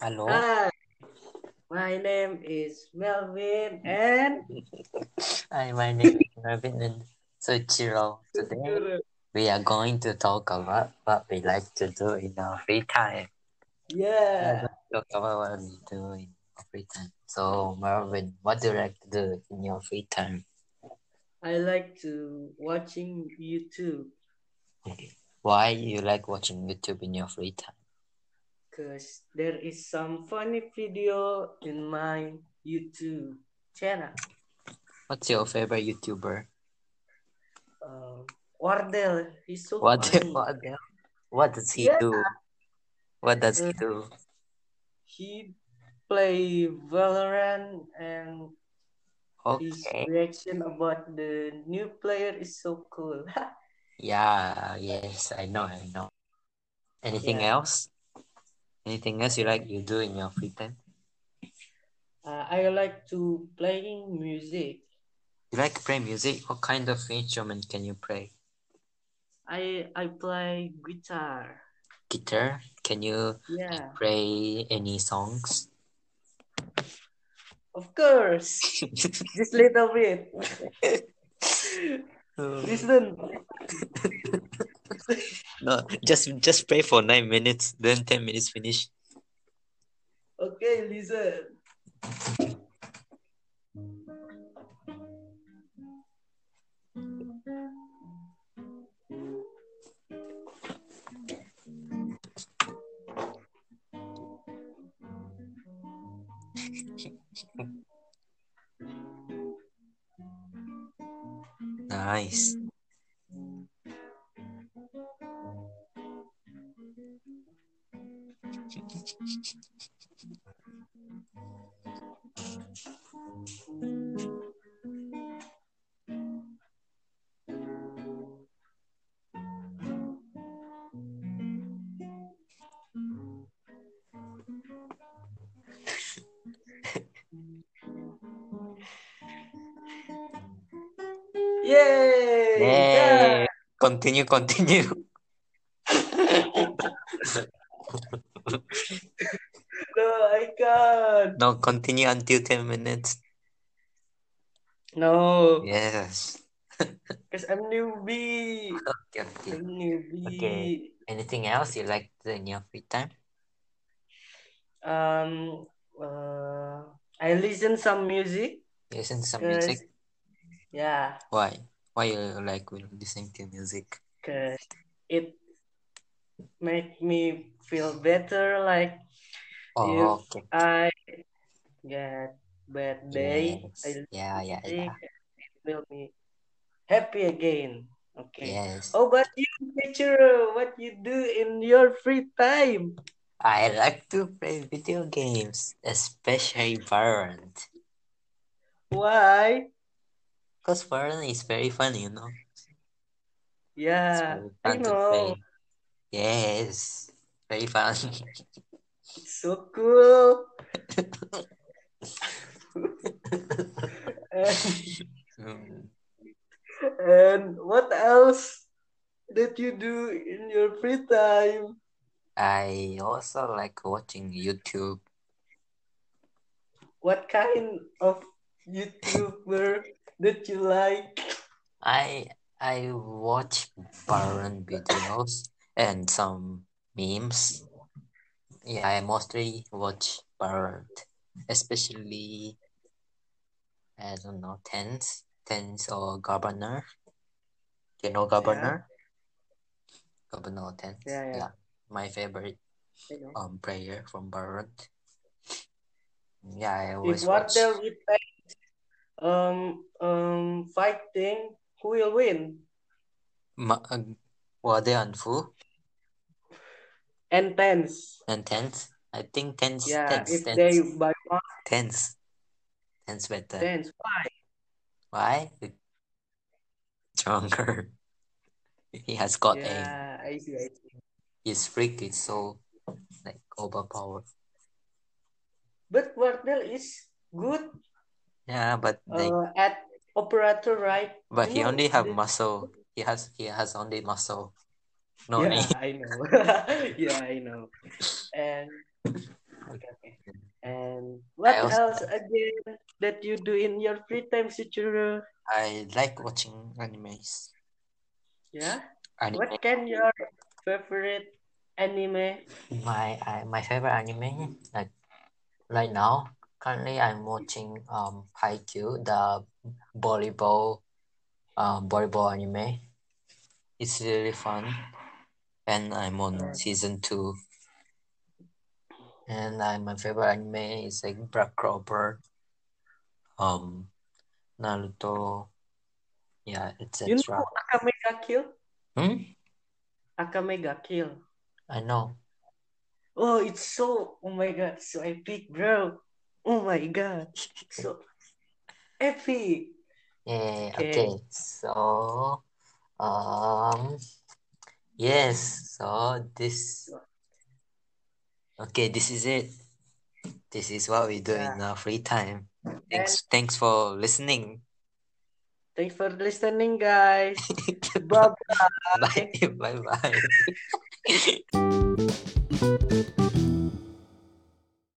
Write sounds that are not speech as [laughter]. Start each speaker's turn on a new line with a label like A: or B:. A: Hello.
B: Hi, my name is Melvin and
A: Hi, my name is Robin and Suchiro. Today we are going to talk about what we like to do in our free time.
B: yeah.
A: Talk about what we do in our free time. So Marvin, what do you like to do in your free time?
B: I like to watching YouTube
A: Why you like watching YouTube in your free time?
B: because there is some funny video in my YouTube channel.
A: What's your favorite YouTuber?
B: Um, Wardell, he's so
A: What
B: funny.
A: what what does he
B: Yeah. Mm.
A: do? What does he do?
B: He play Valorant and his
A: Okay.
B: reaction about the new player is so cool. [laughs]
A: Yeah, yes, I know, I know. Anything
B: Yeah.
A: else? Anything else you like you do in your free time?
B: Uh, I like to playing music.
A: You like to play music? What kind of instrument can you play?
B: I I play guitar.
A: Guitar? Can you like
B: Yeah,
A: play any songs? [laughs]
B: of course. Just little bit. [laughs] Listen.
A: no, just just play for nine minutes, then ten minutes finish.
B: Okay, listen.
A: Nice.
B: Yay!
A: Yay!
B: Yeah.
A: Continue, continue.
B: No, I can't.
A: No, continue until ten minutes.
B: No,
A: Yes.
B: because I'm newbie.
A: Okay, okay.
B: I'm
A: Okay.
B: newbie.
A: Anything else you like to do in your free time?
B: Um, uh, I listen some music.
A: Listen to some
B: Cause
A: music.
B: yeah,
A: Why? Why you like listening to music?
B: cause it make me feel better. Like if
A: Oh, okay.
B: I get bad day, I
A: Yes. Yeah, yeah,
B: think
A: yeah.
B: it will be happy again. Okay.
A: Yes.
B: Oh, but you, teacher, what you do in your free time?
A: I like to play video games, especially Valorant.
B: Why?
A: Because Valorant is very fun, you know. It's
B: Yeah,
A: very
B: I
A: fun to
B: know.
A: play. Yes. Very fun. [laughs]
B: It's so cool. [laughs] And,
A: Mm.
B: and what else that you do in your free time?
A: I also like watching YouTube.
B: What kind of YouTuber that you like?
A: I I watch Valorant videos and some memes. Yeah, I mostly watch Valorant, especially I don't know Tens, Tens or Governor. You know
B: Yeah,
A: Governor, Governor or Tens.
B: yeah, yeah.
A: Yeah, my favorite
B: I know.
A: um player from Valorant. Yeah, I
B: If
A: always
B: what
A: watch.
B: there with um um fighting, who will win?
A: Ma- uh, Wade and Fu
B: And tens.
A: and Tens. I think Tens,
B: Yeah,
A: Tens,
B: if they
A: Tens,
B: by one
A: Tens, Tens better.
B: tens. Why?
A: Why? Because Stronger. [laughs] He has got aim.
B: Yeah, I see, I see.
A: His freak is so like overpowered.
B: But Wardell is good
A: Yeah, but like,
B: uh, at operator, right?
A: but
B: You
A: he
B: know
A: only have
B: the
A: muscle. He has he has only muscle. No eh. aim.
B: [laughs] Yeah, I know. Yeah, I know. And Okay, okay. And what
A: I also-
B: else again that you do in your free time, Suchiro?
A: I like watching animes.
B: Yeah.
A: Anime.
B: What can your favorite anime?
A: My I, my favorite anime like right now currently I'm watching um Haikyuu the volleyball um volleyball anime. It's really fun, and I'm on
B: Alright.
A: season two. And I, my favorite anime is like Black Clover, um, Naruto, yeah, etc.
B: You know Akame ga Kill?
A: Hmm?
B: Akame ga Kill.
A: I know.
B: Oh, it's so, oh my god, so epic, bro. Oh my god. So epic.
A: Yeah,
B: Okay.
A: okay. So, um, yes, so this, okay, this is it. This is what we do in our free time. Thanks, thanks for listening. [laughs]
B: Thanks for listening, guys. Bye
A: Bye, bye bye.